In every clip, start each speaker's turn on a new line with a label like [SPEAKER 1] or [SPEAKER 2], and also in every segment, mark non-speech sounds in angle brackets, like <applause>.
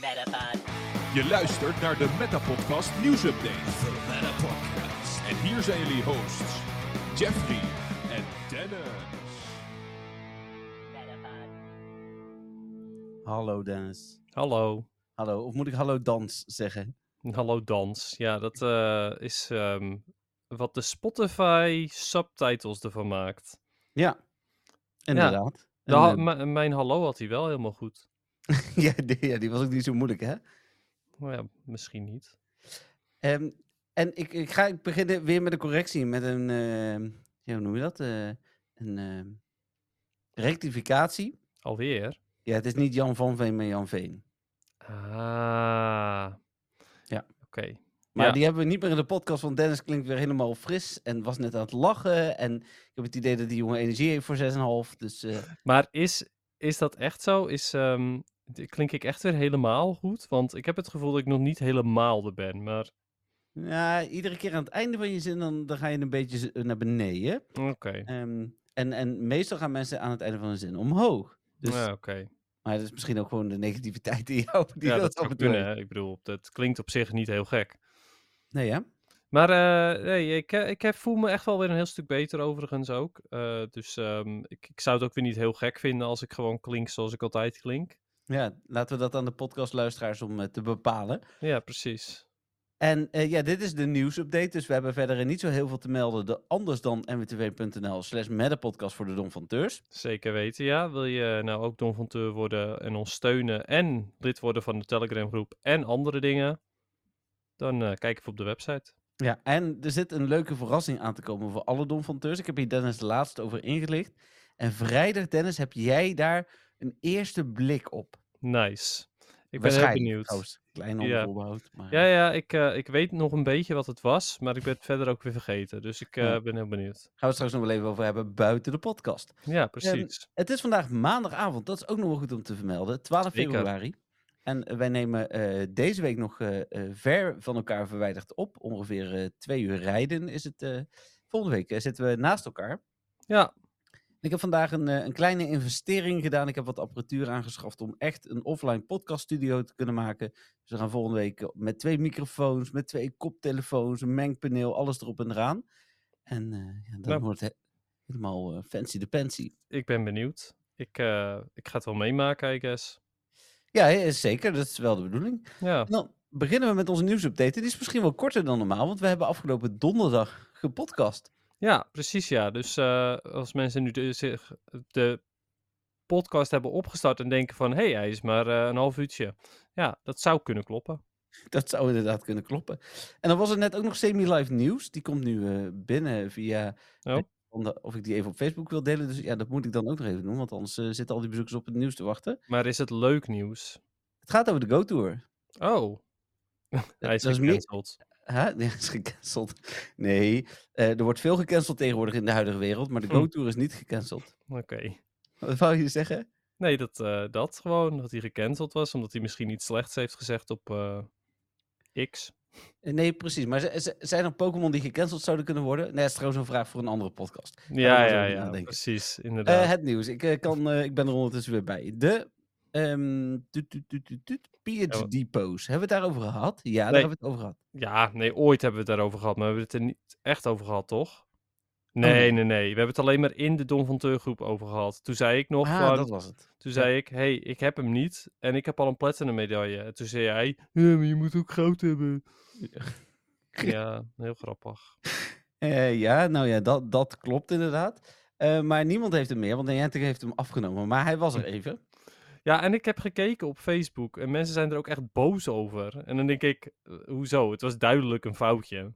[SPEAKER 1] Metapod.
[SPEAKER 2] Je luistert naar de Metapodcast nieuwsupdate. En hier zijn jullie hosts, Jeffrey en Dennis.
[SPEAKER 1] Metapod.
[SPEAKER 3] Hallo Dennis.
[SPEAKER 4] Hallo.
[SPEAKER 3] Hallo, of moet ik hallo dans zeggen?
[SPEAKER 4] Hallo dans. Ja, dat eh, is ehm, wat de Spotify subtitles ervan maakt.
[SPEAKER 3] Ja, inderdaad.
[SPEAKER 4] De
[SPEAKER 3] En,
[SPEAKER 4] ha-
[SPEAKER 3] eh, <laughs>
[SPEAKER 4] m- mijn hallo had hij wel helemaal goed.
[SPEAKER 3] ja, die, ja, die was ook niet zo moeilijk, hè?
[SPEAKER 4] Maar Nou ja, misschien niet.
[SPEAKER 3] Ehm, en ik, ik ga beginnen weer met een correctie, met een, ehm, ja, hoe noem je dat? Eh, een ehm, rectificatie.
[SPEAKER 4] Alweer.
[SPEAKER 3] Ja, het is niet Jan van Veen, maar Jan Veen.
[SPEAKER 4] Ah.
[SPEAKER 3] Ja.
[SPEAKER 4] Oké.
[SPEAKER 3] Maar
[SPEAKER 4] Ja.
[SPEAKER 3] die hebben we niet meer in de podcast, want Dennis klinkt weer helemaal fris en was net aan het lachen. En ik heb het idee dat die jongen energie heeft voor 6,5. Dus
[SPEAKER 4] <laughs>
[SPEAKER 3] eh,
[SPEAKER 4] Maar is, is dat echt zo? Is, ehm, d- klink ik echt weer helemaal goed? Want ik heb het gevoel dat ik nog niet helemaal er ben. Maar
[SPEAKER 3] ja, iedere keer aan het einde van je zin, dan, dan ga je een beetje z- naar beneden.
[SPEAKER 4] oké.
[SPEAKER 3] Ehm, en, en meestal gaan mensen aan het einde van hun zin omhoog. Dus,
[SPEAKER 4] Ja, oké.
[SPEAKER 3] Maar dat is misschien ook gewoon de negativiteit in jou die
[SPEAKER 4] Ja,
[SPEAKER 3] dat,
[SPEAKER 4] dat
[SPEAKER 3] al
[SPEAKER 4] zou kunnen. hè. Ik bedoel, dat klinkt op zich niet heel gek.
[SPEAKER 3] Nee, ja?
[SPEAKER 4] Maar eh, nee, ik, eh, ik heb, voel me echt wel weer een heel stuk beter overigens ook. Eh, dus ehm, ik, ik zou het ook weer niet heel gek vinden als ik gewoon klink zoals ik altijd klink.
[SPEAKER 3] ja, laten we dat aan de podcastluisteraars om eh, te bepalen.
[SPEAKER 4] Ja, precies.
[SPEAKER 3] En eh, ja, dit is de nieuwsupdate, dus we hebben verder niet zo heel veel te melden. De anders dan mwtw.nl slash met de podcast voor de Don van Teurs.
[SPEAKER 4] Zeker weten, ja. Wil je nou ook Don van Teur worden en ons steunen en lid worden van de Telegram groep en andere dingen? Dan eh, kijk even op de website.
[SPEAKER 3] Ja, en er zit een leuke verrassing aan te komen voor alle Don van Teurs. Ik heb hier Dennis de laatste over ingelicht. En vrijdag, Dennis, heb jij daar een eerste blik op.
[SPEAKER 4] Nice. Ik ben heel
[SPEAKER 3] Waarschijnlijk,
[SPEAKER 4] benieuwd.
[SPEAKER 3] trouwens. Klein
[SPEAKER 4] Ja.
[SPEAKER 3] onvoorbehoud. Maar...
[SPEAKER 4] Ja, ja, ik, eh, ik weet nog een beetje wat het was, maar ik ben het verder ook weer vergeten. Dus ik
[SPEAKER 3] Ja.
[SPEAKER 4] eh, ben heel benieuwd.
[SPEAKER 3] Gaan we het straks nog wel even over hebben buiten de podcast.
[SPEAKER 4] Ja, precies.
[SPEAKER 3] Het is vandaag maandagavond, dat is ook nog wel goed om te vermelden. 12
[SPEAKER 4] Zeker.
[SPEAKER 3] februari. En eh, wij nemen eh, deze week nog eh, eh, ver van elkaar verwijderd op. Ongeveer eh, twee uur rijden is het. eh, volgende week eh, zitten we naast elkaar.
[SPEAKER 4] Ja,
[SPEAKER 3] Ik heb vandaag een, eh, een kleine investering gedaan. Ik heb wat apparatuur aangeschaft om echt een offline podcaststudio te kunnen maken. Dus we gaan volgende week eh, met twee microfoons, met twee koptelefoons, een mengpaneel, alles erop en eraan. En eh, ja, dan
[SPEAKER 4] Nou.
[SPEAKER 3] wordt het helemaal eh, fancy de fancy.
[SPEAKER 4] ik ben benieuwd. Ik, eh, ik ga het wel meemaken, I guess.
[SPEAKER 3] Ja, eh, zeker. Dat is wel de bedoeling.
[SPEAKER 4] Ja,
[SPEAKER 3] En dan beginnen we met onze nieuwsupdate. Die is misschien wel korter dan normaal, want we hebben afgelopen donderdag gepodcast.
[SPEAKER 4] ja precies ja. Dus eh, als mensen nu de, zich de podcast hebben opgestart en denken van... hé, hey, hij is maar eh, een half uurtje. Ja, dat zou kunnen kloppen.
[SPEAKER 3] Dat zou inderdaad kunnen kloppen. En dan was er net ook nog semi-live nieuws. Die komt nu eh, binnen via... eh,
[SPEAKER 4] Oh.
[SPEAKER 3] om de- Of ik die even op Facebook wil delen. Dus ja, dat moet ik dan ook nog even doen. Want anders eh, zitten al die bezoekers op het nieuws te wachten.
[SPEAKER 4] Maar is het leuk nieuws?
[SPEAKER 3] Het gaat over de Go-Tour.
[SPEAKER 4] Oh, hij is
[SPEAKER 3] dat is meer-
[SPEAKER 4] gecanceld.
[SPEAKER 3] <laughs> Huh? Nee, is gecanceld. Nee, eh, er wordt veel gecanceld tegenwoordig in de huidige wereld. Maar de
[SPEAKER 4] Hm.
[SPEAKER 3] Go-Tour is niet gecanceld.
[SPEAKER 4] Oké.
[SPEAKER 3] Wat wou je zeggen?
[SPEAKER 4] Nee, dat, eh, dat gewoon. Dat hij gecanceld was, omdat hij misschien iets slechts heeft gezegd op eh, X.
[SPEAKER 3] Eh, Nee, precies. Maar z- z- zijn er Pokémon die gecanceld zouden kunnen worden? Nee, dat is trouwens een vraag voor een andere podcast.
[SPEAKER 4] Ja,
[SPEAKER 3] moet je
[SPEAKER 4] ja,
[SPEAKER 3] over
[SPEAKER 4] ja,
[SPEAKER 3] nadenken.
[SPEAKER 4] precies.
[SPEAKER 3] Eh,
[SPEAKER 4] Inderdaad.
[SPEAKER 3] het nieuws. Ik, eh, kan, eh, ik ben er ondertussen weer bij. De ehm tut, tut, tut, tut, tut, PhD-post. Hebben we het daarover gehad? Ja, daar
[SPEAKER 4] Nee.
[SPEAKER 3] hebben we het over gehad.
[SPEAKER 4] Ja, nee, ooit hebben we het daarover gehad, maar we hebben het er niet echt over gehad, toch? Nee,
[SPEAKER 3] Oh, nee.
[SPEAKER 4] nee, nee. We hebben het alleen maar in de Don van Teur groep over gehad. Toen zei ik nog
[SPEAKER 3] ah,
[SPEAKER 4] van,
[SPEAKER 3] dat was het.
[SPEAKER 4] toen zei ik, hey, ik heb hem niet en ik heb al een platinum medaille. En toen zei jij, ja, maar je moet ook goud hebben. Ja, heel grappig.
[SPEAKER 3] Eh, ja, nou ja, dat, dat klopt inderdaad. Eh, maar niemand heeft hem meer, want Niantic heeft hem afgenomen. Maar hij was
[SPEAKER 4] Hm.
[SPEAKER 3] er even.
[SPEAKER 4] Ja, en ik heb gekeken op Facebook en mensen zijn er ook echt boos over. En dan denk ik, eh, hoezo? Het was duidelijk een foutje.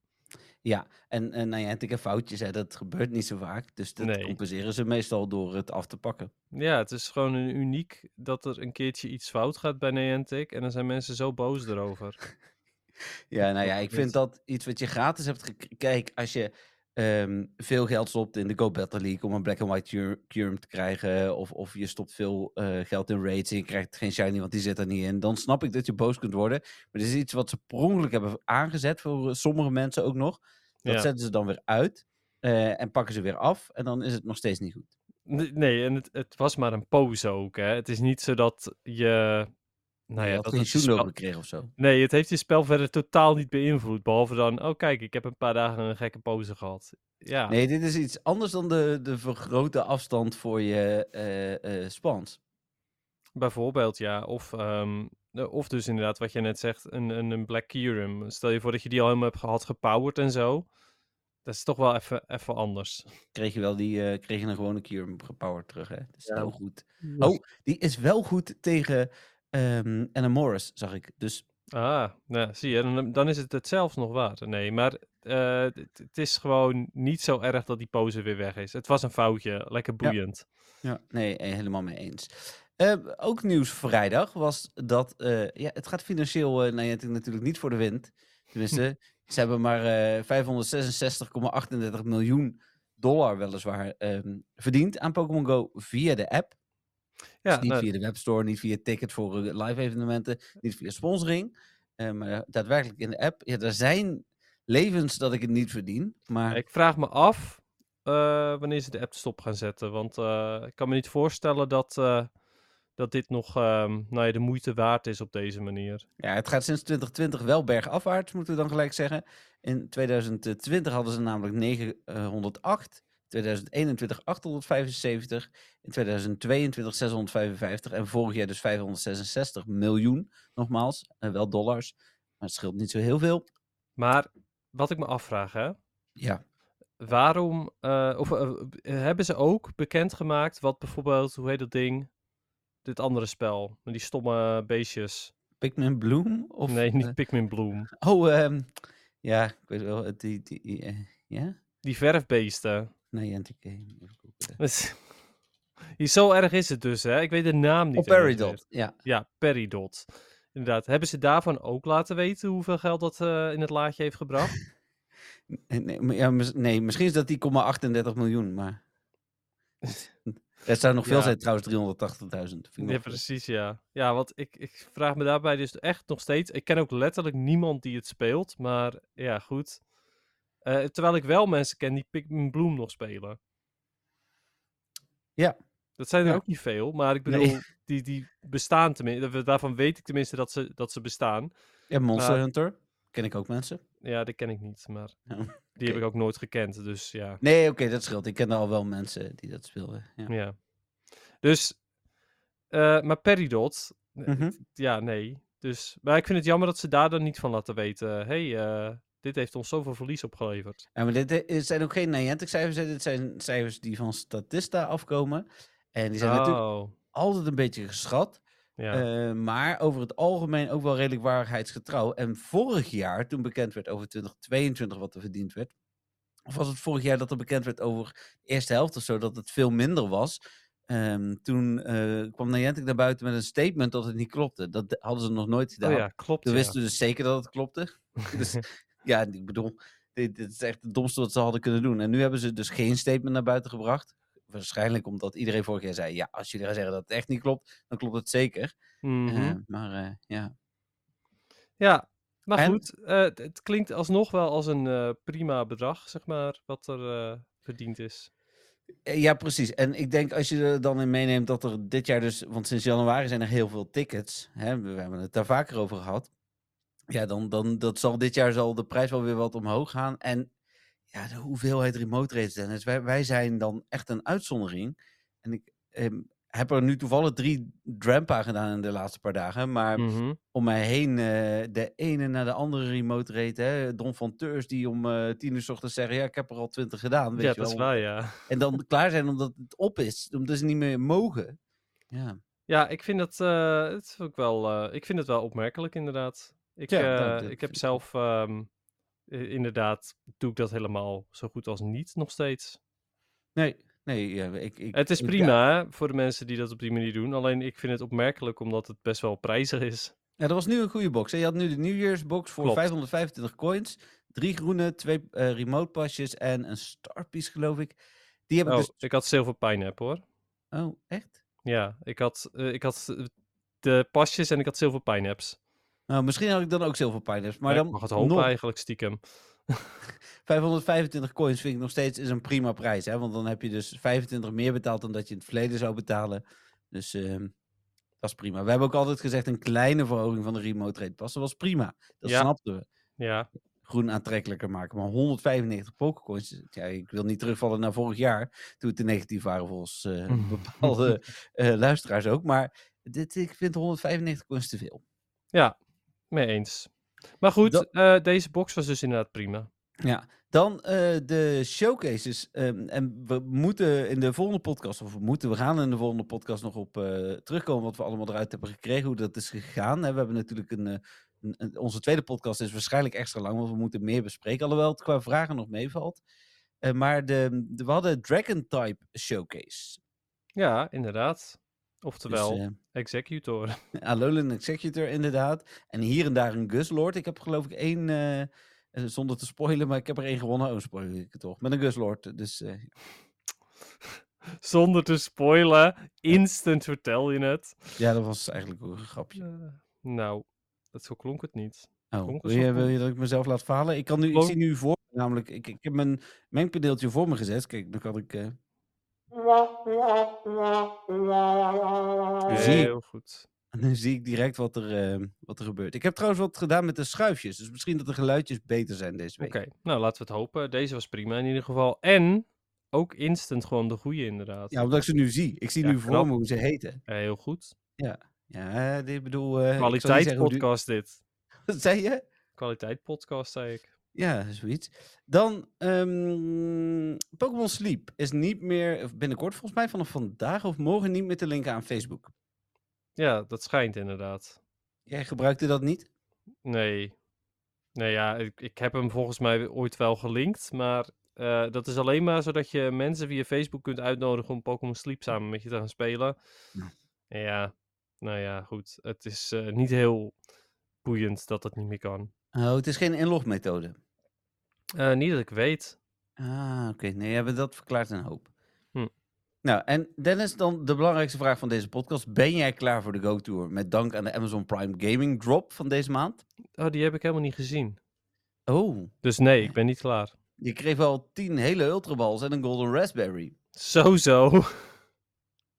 [SPEAKER 3] Ja, en, en Niantic heeft foutjes. Hè. Dat gebeurt niet zo vaak. Dus dat
[SPEAKER 4] Nee.
[SPEAKER 3] compenseren ze meestal door het af te pakken.
[SPEAKER 4] Ja, het is gewoon een uniek dat er een keertje iets fout gaat bij Niantic. En dan zijn mensen zo boos erover.
[SPEAKER 3] Ja, nou ja,
[SPEAKER 4] klopt
[SPEAKER 3] ik vind
[SPEAKER 4] niet.
[SPEAKER 3] dat iets wat je gratis hebt gekregen. Kijk, als je ehm, veel geld stopt in de Go Battle League om een Black and White Cur- Curum te krijgen, of, of je stopt veel eh, geld in raids en je krijgt geen shiny, want die zit er niet in, dan snap ik dat je boos kunt worden. Maar dit is iets wat ze per ongeluk hebben aangezet voor eh, sommige mensen ook nog. Dat
[SPEAKER 4] Ja.
[SPEAKER 3] zetten ze dan weer uit eh, en pakken ze weer af en dan is het nog steeds niet goed.
[SPEAKER 4] Nee, nee, en het, het was maar een pose ook. Hè? Het is niet zo dat je Nou ja,
[SPEAKER 3] je had
[SPEAKER 4] dat
[SPEAKER 3] geen
[SPEAKER 4] het
[SPEAKER 3] zoen
[SPEAKER 4] spel-
[SPEAKER 3] over gekregen of zo.
[SPEAKER 4] Nee, het heeft je spel verder totaal niet beïnvloed. Behalve dan, oh kijk, ik heb een paar dagen een gekke pose gehad. Ja,
[SPEAKER 3] Nee, dit is iets anders dan de, de vergrote afstand voor je eh eh spans.
[SPEAKER 4] bijvoorbeeld ja. Of, ehm, eh, of dus inderdaad wat je net zegt, een, een, een Black Kyurem. Stel je voor dat je die al helemaal hebt gehad gepowered en zo. Dat is toch wel even, even anders.
[SPEAKER 3] Kreeg je wel die, eh, kreeg je een gewone Cure gepowered terug, hè? Dat is
[SPEAKER 4] Ja.
[SPEAKER 3] heel goed. Oh, die is wel goed tegen ehm Anna Morris, zag ik. Dus
[SPEAKER 4] Ah, nou, zie je, dan, dan is het het zelfs nog waard. Nee, maar eh, het- het is gewoon niet zo erg dat die pose weer weg is. Het was een foutje, lekker
[SPEAKER 3] Ja.
[SPEAKER 4] boeiend.
[SPEAKER 3] Ja, nee, eh, helemaal mee eens. Eh, ook nieuws vrijdag was dat... eh, ja, het gaat financieel eh, Niantic natuurlijk niet voor de wind.
[SPEAKER 4] <laughs>
[SPEAKER 3] Tenminste, ze hebben maar eh 566,38 miljoen dollar weliswaar ehm, verdiend aan Pokémon Go via de app.
[SPEAKER 4] Ja,
[SPEAKER 3] dus niet
[SPEAKER 4] nou,
[SPEAKER 3] via de webstore, niet via ticket voor eh, live evenementen, niet via sponsoring. eh, maar daadwerkelijk in de app. Ja, er zijn levens dat ik het niet verdien. Maar
[SPEAKER 4] Ik vraag me af eh, wanneer ze de app stop gaan zetten. Want eh, ik kan me niet voorstellen dat, eh, dat dit nog ehm, nou ja, de moeite waard is op deze manier.
[SPEAKER 3] Ja, het gaat sinds 2020 wel bergafwaarts, moeten we dan gelijk zeggen. In 2020 hadden ze namelijk 908, 2021 875, in 2022 655 en vorig jaar dus 566 miljoen, nogmaals, eh, wel dollars, maar het scheelt niet zo heel veel.
[SPEAKER 4] Maar wat ik me afvraag, hè,
[SPEAKER 3] Ja,
[SPEAKER 4] waarom. eh, of eh, hebben ze ook bekendgemaakt wat bijvoorbeeld, hoe heet dat ding? Dit andere spel, met die stomme beestjes.
[SPEAKER 3] Pikmin Bloom of
[SPEAKER 4] nee, niet
[SPEAKER 3] eh,
[SPEAKER 4] Pikmin Bloom.
[SPEAKER 3] oh, ehm, ja, ik weet wel, eh, die, die, eh, ja,
[SPEAKER 4] Die verfbeesten.
[SPEAKER 3] nee, Game. Even googlen.
[SPEAKER 4] <laughs> Hier, Zo erg is het dus, hè? Ik weet de naam niet.
[SPEAKER 3] Oh,
[SPEAKER 4] in één keer.
[SPEAKER 3] Peridot, ja.
[SPEAKER 4] Ja, Peridot. Inderdaad. Hebben ze daarvan ook laten weten hoeveel geld dat eh, in het laadje heeft gebracht?
[SPEAKER 3] Eh, Nee, maar ja, mis- nee, misschien is dat die 0,38 miljoen,
[SPEAKER 4] <laughs>
[SPEAKER 3] maar. Het zou nog veel
[SPEAKER 4] Ja.
[SPEAKER 3] zijn trouwens, 380.000. Vind ik
[SPEAKER 4] ja,
[SPEAKER 3] nog- eh,
[SPEAKER 4] precies, ja. Ja, want ik, ik vraag me daarbij dus echt nog steeds... Ik ken ook letterlijk niemand die het speelt, maar ja, goed. Eh, terwijl ik wel mensen ken die Pikmin Bloom nog spelen.
[SPEAKER 3] Ja.
[SPEAKER 4] Dat zijn er
[SPEAKER 3] Ja.
[SPEAKER 4] ook niet veel, maar ik
[SPEAKER 3] Nee.
[SPEAKER 4] bedoel,
[SPEAKER 3] <laughs>
[SPEAKER 4] die, die bestaan tenminste. Daarvan weet ik tenminste dat ze, dat ze bestaan.
[SPEAKER 3] Ja, Monster
[SPEAKER 4] Maar-
[SPEAKER 3] Hunter. Ken ik ook mensen.
[SPEAKER 4] Ja, die ken ik niet, maar
[SPEAKER 3] Ja,
[SPEAKER 4] die heb ik ook nooit gekend, dus ja.
[SPEAKER 3] Nee, oké, dat scheelt. Ik ken al wel mensen die dat speelden. Ja.
[SPEAKER 4] Ja. Dus, eh, maar Peridot, eh,
[SPEAKER 3] Mhm.
[SPEAKER 4] ja, nee. Dus, maar ik vind het jammer dat ze daar dan niet van laten weten. hey, eh, dit heeft ons zoveel verlies opgeleverd.
[SPEAKER 3] Ja, maar dit eh, het zijn ook geen Niantic-cijfers. hè, Dit zijn cijfers die van Statista afkomen. En die zijn natuurlijk
[SPEAKER 4] oh,
[SPEAKER 3] altijd een beetje geschat.
[SPEAKER 4] ja.
[SPEAKER 3] Eh, maar over het algemeen ook wel redelijk waarheidsgetrouw. En vorig jaar, toen bekend werd over 2022 wat er verdiend werd. Of was het vorig jaar dat er bekend werd over de eerste helft of zo, dat het veel minder was. Ehm, toen eh, kwam Niantic naar buiten met een statement dat het niet klopte. Dat de- hadden ze nog nooit gedaan.
[SPEAKER 4] oh ja, klopt.
[SPEAKER 3] Toen
[SPEAKER 4] Ja.
[SPEAKER 3] wisten we dus zeker dat het
[SPEAKER 4] <laughs>
[SPEAKER 3] klopte. dus ja, ik bedoel, dit, dit is echt het domste wat ze hadden kunnen doen. En nu hebben ze dus geen statement naar buiten gebracht. Waarschijnlijk omdat iedereen vorig jaar zei: ja, als jullie gaan zeggen dat het echt niet klopt, dan klopt het zeker.
[SPEAKER 4] Mhm.
[SPEAKER 3] Eh, maar eh, ja.
[SPEAKER 4] ja, maar
[SPEAKER 3] en-
[SPEAKER 4] goed. eh, het- het klinkt alsnog wel als een eh, prima bedrag, zeg maar, wat er eh, verdiend is.
[SPEAKER 3] Eh, ja, precies. En ik denk als je er dan in meeneemt dat er dit jaar dus, want sinds januari zijn er heel veel tickets. Hè, we, we hebben het daar vaker over gehad. Ja, dan, dan dat zal dit jaar zal de prijs wel weer wat omhoog gaan. En ja, de hoeveelheid remote rates, Dennis. Wij, wij zijn dan echt een uitzondering. En ik ehm, heb er nu toevallig drie Drampa gedaan in de laatste paar dagen. Maar
[SPEAKER 4] Mhm.
[SPEAKER 3] om mij heen eh, de ene naar de andere remote reed. Hè? Don van Teurs die om eh tien uur 's ochtends zeggen... ja, ik heb er al twintig gedaan, weet
[SPEAKER 4] Ja,
[SPEAKER 3] je
[SPEAKER 4] dat
[SPEAKER 3] wel.
[SPEAKER 4] is waar, ja.
[SPEAKER 3] En dan klaar zijn omdat het op is. Omdat ze niet meer mogen. Ja,
[SPEAKER 4] Ja, ik vind dat, eh, het is ook wel, eh, ik vind het wel opmerkelijk inderdaad. Ik,
[SPEAKER 3] Ja,
[SPEAKER 4] eh,
[SPEAKER 3] nou, dat
[SPEAKER 4] ik
[SPEAKER 3] vind
[SPEAKER 4] heb
[SPEAKER 3] ik ook.
[SPEAKER 4] zelf, ehm, i- inderdaad, doe ik dat helemaal zo goed als niet nog steeds.
[SPEAKER 3] nee. Nee, ja, ik, ik,
[SPEAKER 4] Het is
[SPEAKER 3] ik-
[SPEAKER 4] prima
[SPEAKER 3] Ja,
[SPEAKER 4] hè, voor de mensen die dat op die manier doen. Alleen ik vind het opmerkelijk omdat het best wel prijzig is.
[SPEAKER 3] Ja, dat was nu een goede box. Hè? Je had nu de New Year's box voor
[SPEAKER 4] Klopt.
[SPEAKER 3] 525 coins. Drie groene, twee eh, remote pasjes en een starpiece geloof ik. Die heb ik
[SPEAKER 4] Oh,
[SPEAKER 3] dus...
[SPEAKER 4] ik had zilver pineapple hoor.
[SPEAKER 3] Oh, echt?
[SPEAKER 4] Ja, ik had, eh, ik had eh, de pasjes en ik had zilver pineapples.
[SPEAKER 3] Nou, misschien had ik dan ook zilver pineapps. Maar
[SPEAKER 4] Ja, ik
[SPEAKER 3] dan
[SPEAKER 4] mag het hopen
[SPEAKER 3] nog.
[SPEAKER 4] eigenlijk stiekem.
[SPEAKER 3] 525 coins vind ik nog steeds is een prima prijs. Hè? Want dan heb je dus 25 meer betaald dan dat je in het verleden zou betalen. Dus ehm, Dat is prima. We hebben ook altijd gezegd een kleine verhoging van de remote rate passen was prima. Dat
[SPEAKER 4] Ja.
[SPEAKER 3] snapten we.
[SPEAKER 4] Ja,
[SPEAKER 3] Groen aantrekkelijker maken. Maar 195 pokercoins. Ja, ik wil niet terugvallen naar vorig jaar. Toen het te negatief waren volgens eh,
[SPEAKER 4] <laughs>
[SPEAKER 3] bepaalde eh, luisteraars ook. Maar dit, ik vind 195 coins te veel.
[SPEAKER 4] mee eens. Maar goed,
[SPEAKER 3] Dat-
[SPEAKER 4] eh, deze box was dus inderdaad prima.
[SPEAKER 3] Ja, dan eh, de showcases. Ehm, en we moeten in de volgende podcast, of we moeten, we gaan in de volgende podcast nog op eh, terugkomen wat we allemaal eruit hebben gekregen, hoe dat is gegaan. Hè, we hebben natuurlijk een, eh, een- een- onze tweede podcast is waarschijnlijk extra lang, want we moeten meer bespreken, alhoewel het qua vragen nog meevalt. Eh, maar de, de- we hadden Dragon Type Showcase.
[SPEAKER 4] Ja, inderdaad.
[SPEAKER 3] Dus,
[SPEAKER 4] Oftewel,
[SPEAKER 3] eh,
[SPEAKER 4] executor. <laughs>
[SPEAKER 3] Alolan Executor, inderdaad. En hier en daar een Guslord. Ik heb geloof ik één, eh, eh, zonder te spoilen, maar ik heb er één gewonnen. Oh, spoil ik het toch. Met een Guslord. Dus eh,
[SPEAKER 4] Zonder te spoilen, instant vertel je het.
[SPEAKER 3] ja, dat was eigenlijk ook een grapje.
[SPEAKER 4] Eh, nou, dat zo klonk het niet.
[SPEAKER 3] Oh,
[SPEAKER 4] klonk
[SPEAKER 3] wil,
[SPEAKER 4] alsof
[SPEAKER 3] je,
[SPEAKER 4] we-
[SPEAKER 3] wil je dat ik mezelf laat falen? Ik, kan nu, ik
[SPEAKER 4] Gewoon-
[SPEAKER 3] zie nu voor, me namelijk, ik, ik heb mijn mengpaneeltje voor me gezet. Kijk, dan kan ik... eh, <laughs>
[SPEAKER 1] Hey.
[SPEAKER 3] zie ik.
[SPEAKER 4] Heel goed.
[SPEAKER 3] En dan zie ik direct wat er, eh, wat er gebeurt. Ik heb trouwens wat gedaan met de schuifjes. Dus misschien dat de geluidjes beter zijn deze
[SPEAKER 4] Oké,
[SPEAKER 3] week.
[SPEAKER 4] nou laten we het hopen. Deze was prima in ieder geval. En ook instant gewoon de goede inderdaad.
[SPEAKER 3] Ja, omdat ik ze nu zie. Ik zie
[SPEAKER 4] Ja,
[SPEAKER 3] nu voor
[SPEAKER 4] knap.
[SPEAKER 3] me hoe ze heten.
[SPEAKER 4] Eh, heel goed.
[SPEAKER 3] Ja, ik bedoel... eh, ik zal niet
[SPEAKER 4] Kwaliteit
[SPEAKER 3] zeggen hoe duur-
[SPEAKER 4] podcast dit.
[SPEAKER 3] Wat <laughs> zei je?
[SPEAKER 4] Kwaliteit podcast, zei ik.
[SPEAKER 3] Ja, zoiets. Dan, ehm, Pokémon Sleep is niet meer, of binnenkort volgens mij vanaf vandaag of morgen niet meer te linken aan Facebook.
[SPEAKER 4] Ja, dat schijnt inderdaad.
[SPEAKER 3] Jij gebruikte dat niet?
[SPEAKER 4] Nee. Nee, ja, ik, ik heb hem volgens mij ooit wel gelinkt, maar eh, dat is alleen maar zodat je mensen via Facebook kunt uitnodigen om Pokémon Sleep samen met je te gaan spelen.
[SPEAKER 3] Ja.
[SPEAKER 4] Ja, nou ja, goed. Het is eh, niet heel boeiend dat dat niet meer kan.
[SPEAKER 3] Oh, het is geen inlogmethode.
[SPEAKER 4] Eh, niet dat ik weet.
[SPEAKER 3] Ah, oké. Nee, hebben dat verklaart een hoop.
[SPEAKER 4] Hm.
[SPEAKER 3] Nou, en Dennis, dan de belangrijkste vraag van deze podcast. Ben jij klaar voor de Go Tour? Met dank aan de Amazon Prime Gaming Drop van deze maand.
[SPEAKER 4] Oh, die heb ik helemaal niet gezien.
[SPEAKER 3] Oh,
[SPEAKER 4] Dus nee, ik ben niet klaar.
[SPEAKER 3] je kreeg wel tien hele ultraballs en een Golden Raspberry.
[SPEAKER 4] Zo, zo.
[SPEAKER 3] <laughs>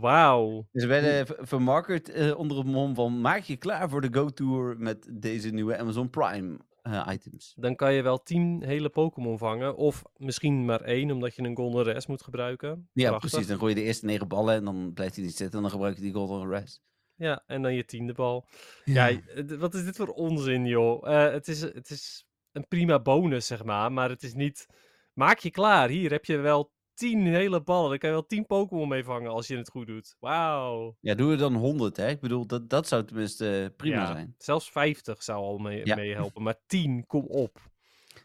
[SPEAKER 4] Wauw.
[SPEAKER 3] Ze Dus werden
[SPEAKER 4] Hm.
[SPEAKER 3] v- vermarkerd eh, onder het mom van maak je klaar voor de Go Tour met deze nieuwe Amazon Prime eh, items.
[SPEAKER 4] Dan kan je wel tien hele Pokémon vangen. Of misschien maar één, omdat je een Golden Res moet gebruiken.
[SPEAKER 3] Ja,
[SPEAKER 4] Prachtig.
[SPEAKER 3] precies. Dan gooi je de eerste negen ballen en dan blijft hij niet zitten en dan gebruik je die Golden Res.
[SPEAKER 4] Ja, en dan je tiende bal. Ja, je- d- wat is dit voor onzin, joh? Eh, het, is, het is een prima bonus, zeg maar. Maar het is niet... Maak je klaar. Hier heb je wel tien hele ballen. Dan kan je wel tien Pokémon mee vangen als je het goed doet. Wauw.
[SPEAKER 3] Ja, doe er dan 100, hè? Ik bedoel, dat, dat zou tenminste eh, prima
[SPEAKER 4] Ja,
[SPEAKER 3] zijn.
[SPEAKER 4] Zelfs 50 zou al mee,
[SPEAKER 3] Ja.
[SPEAKER 4] meehelpen. Maar 10, kom op.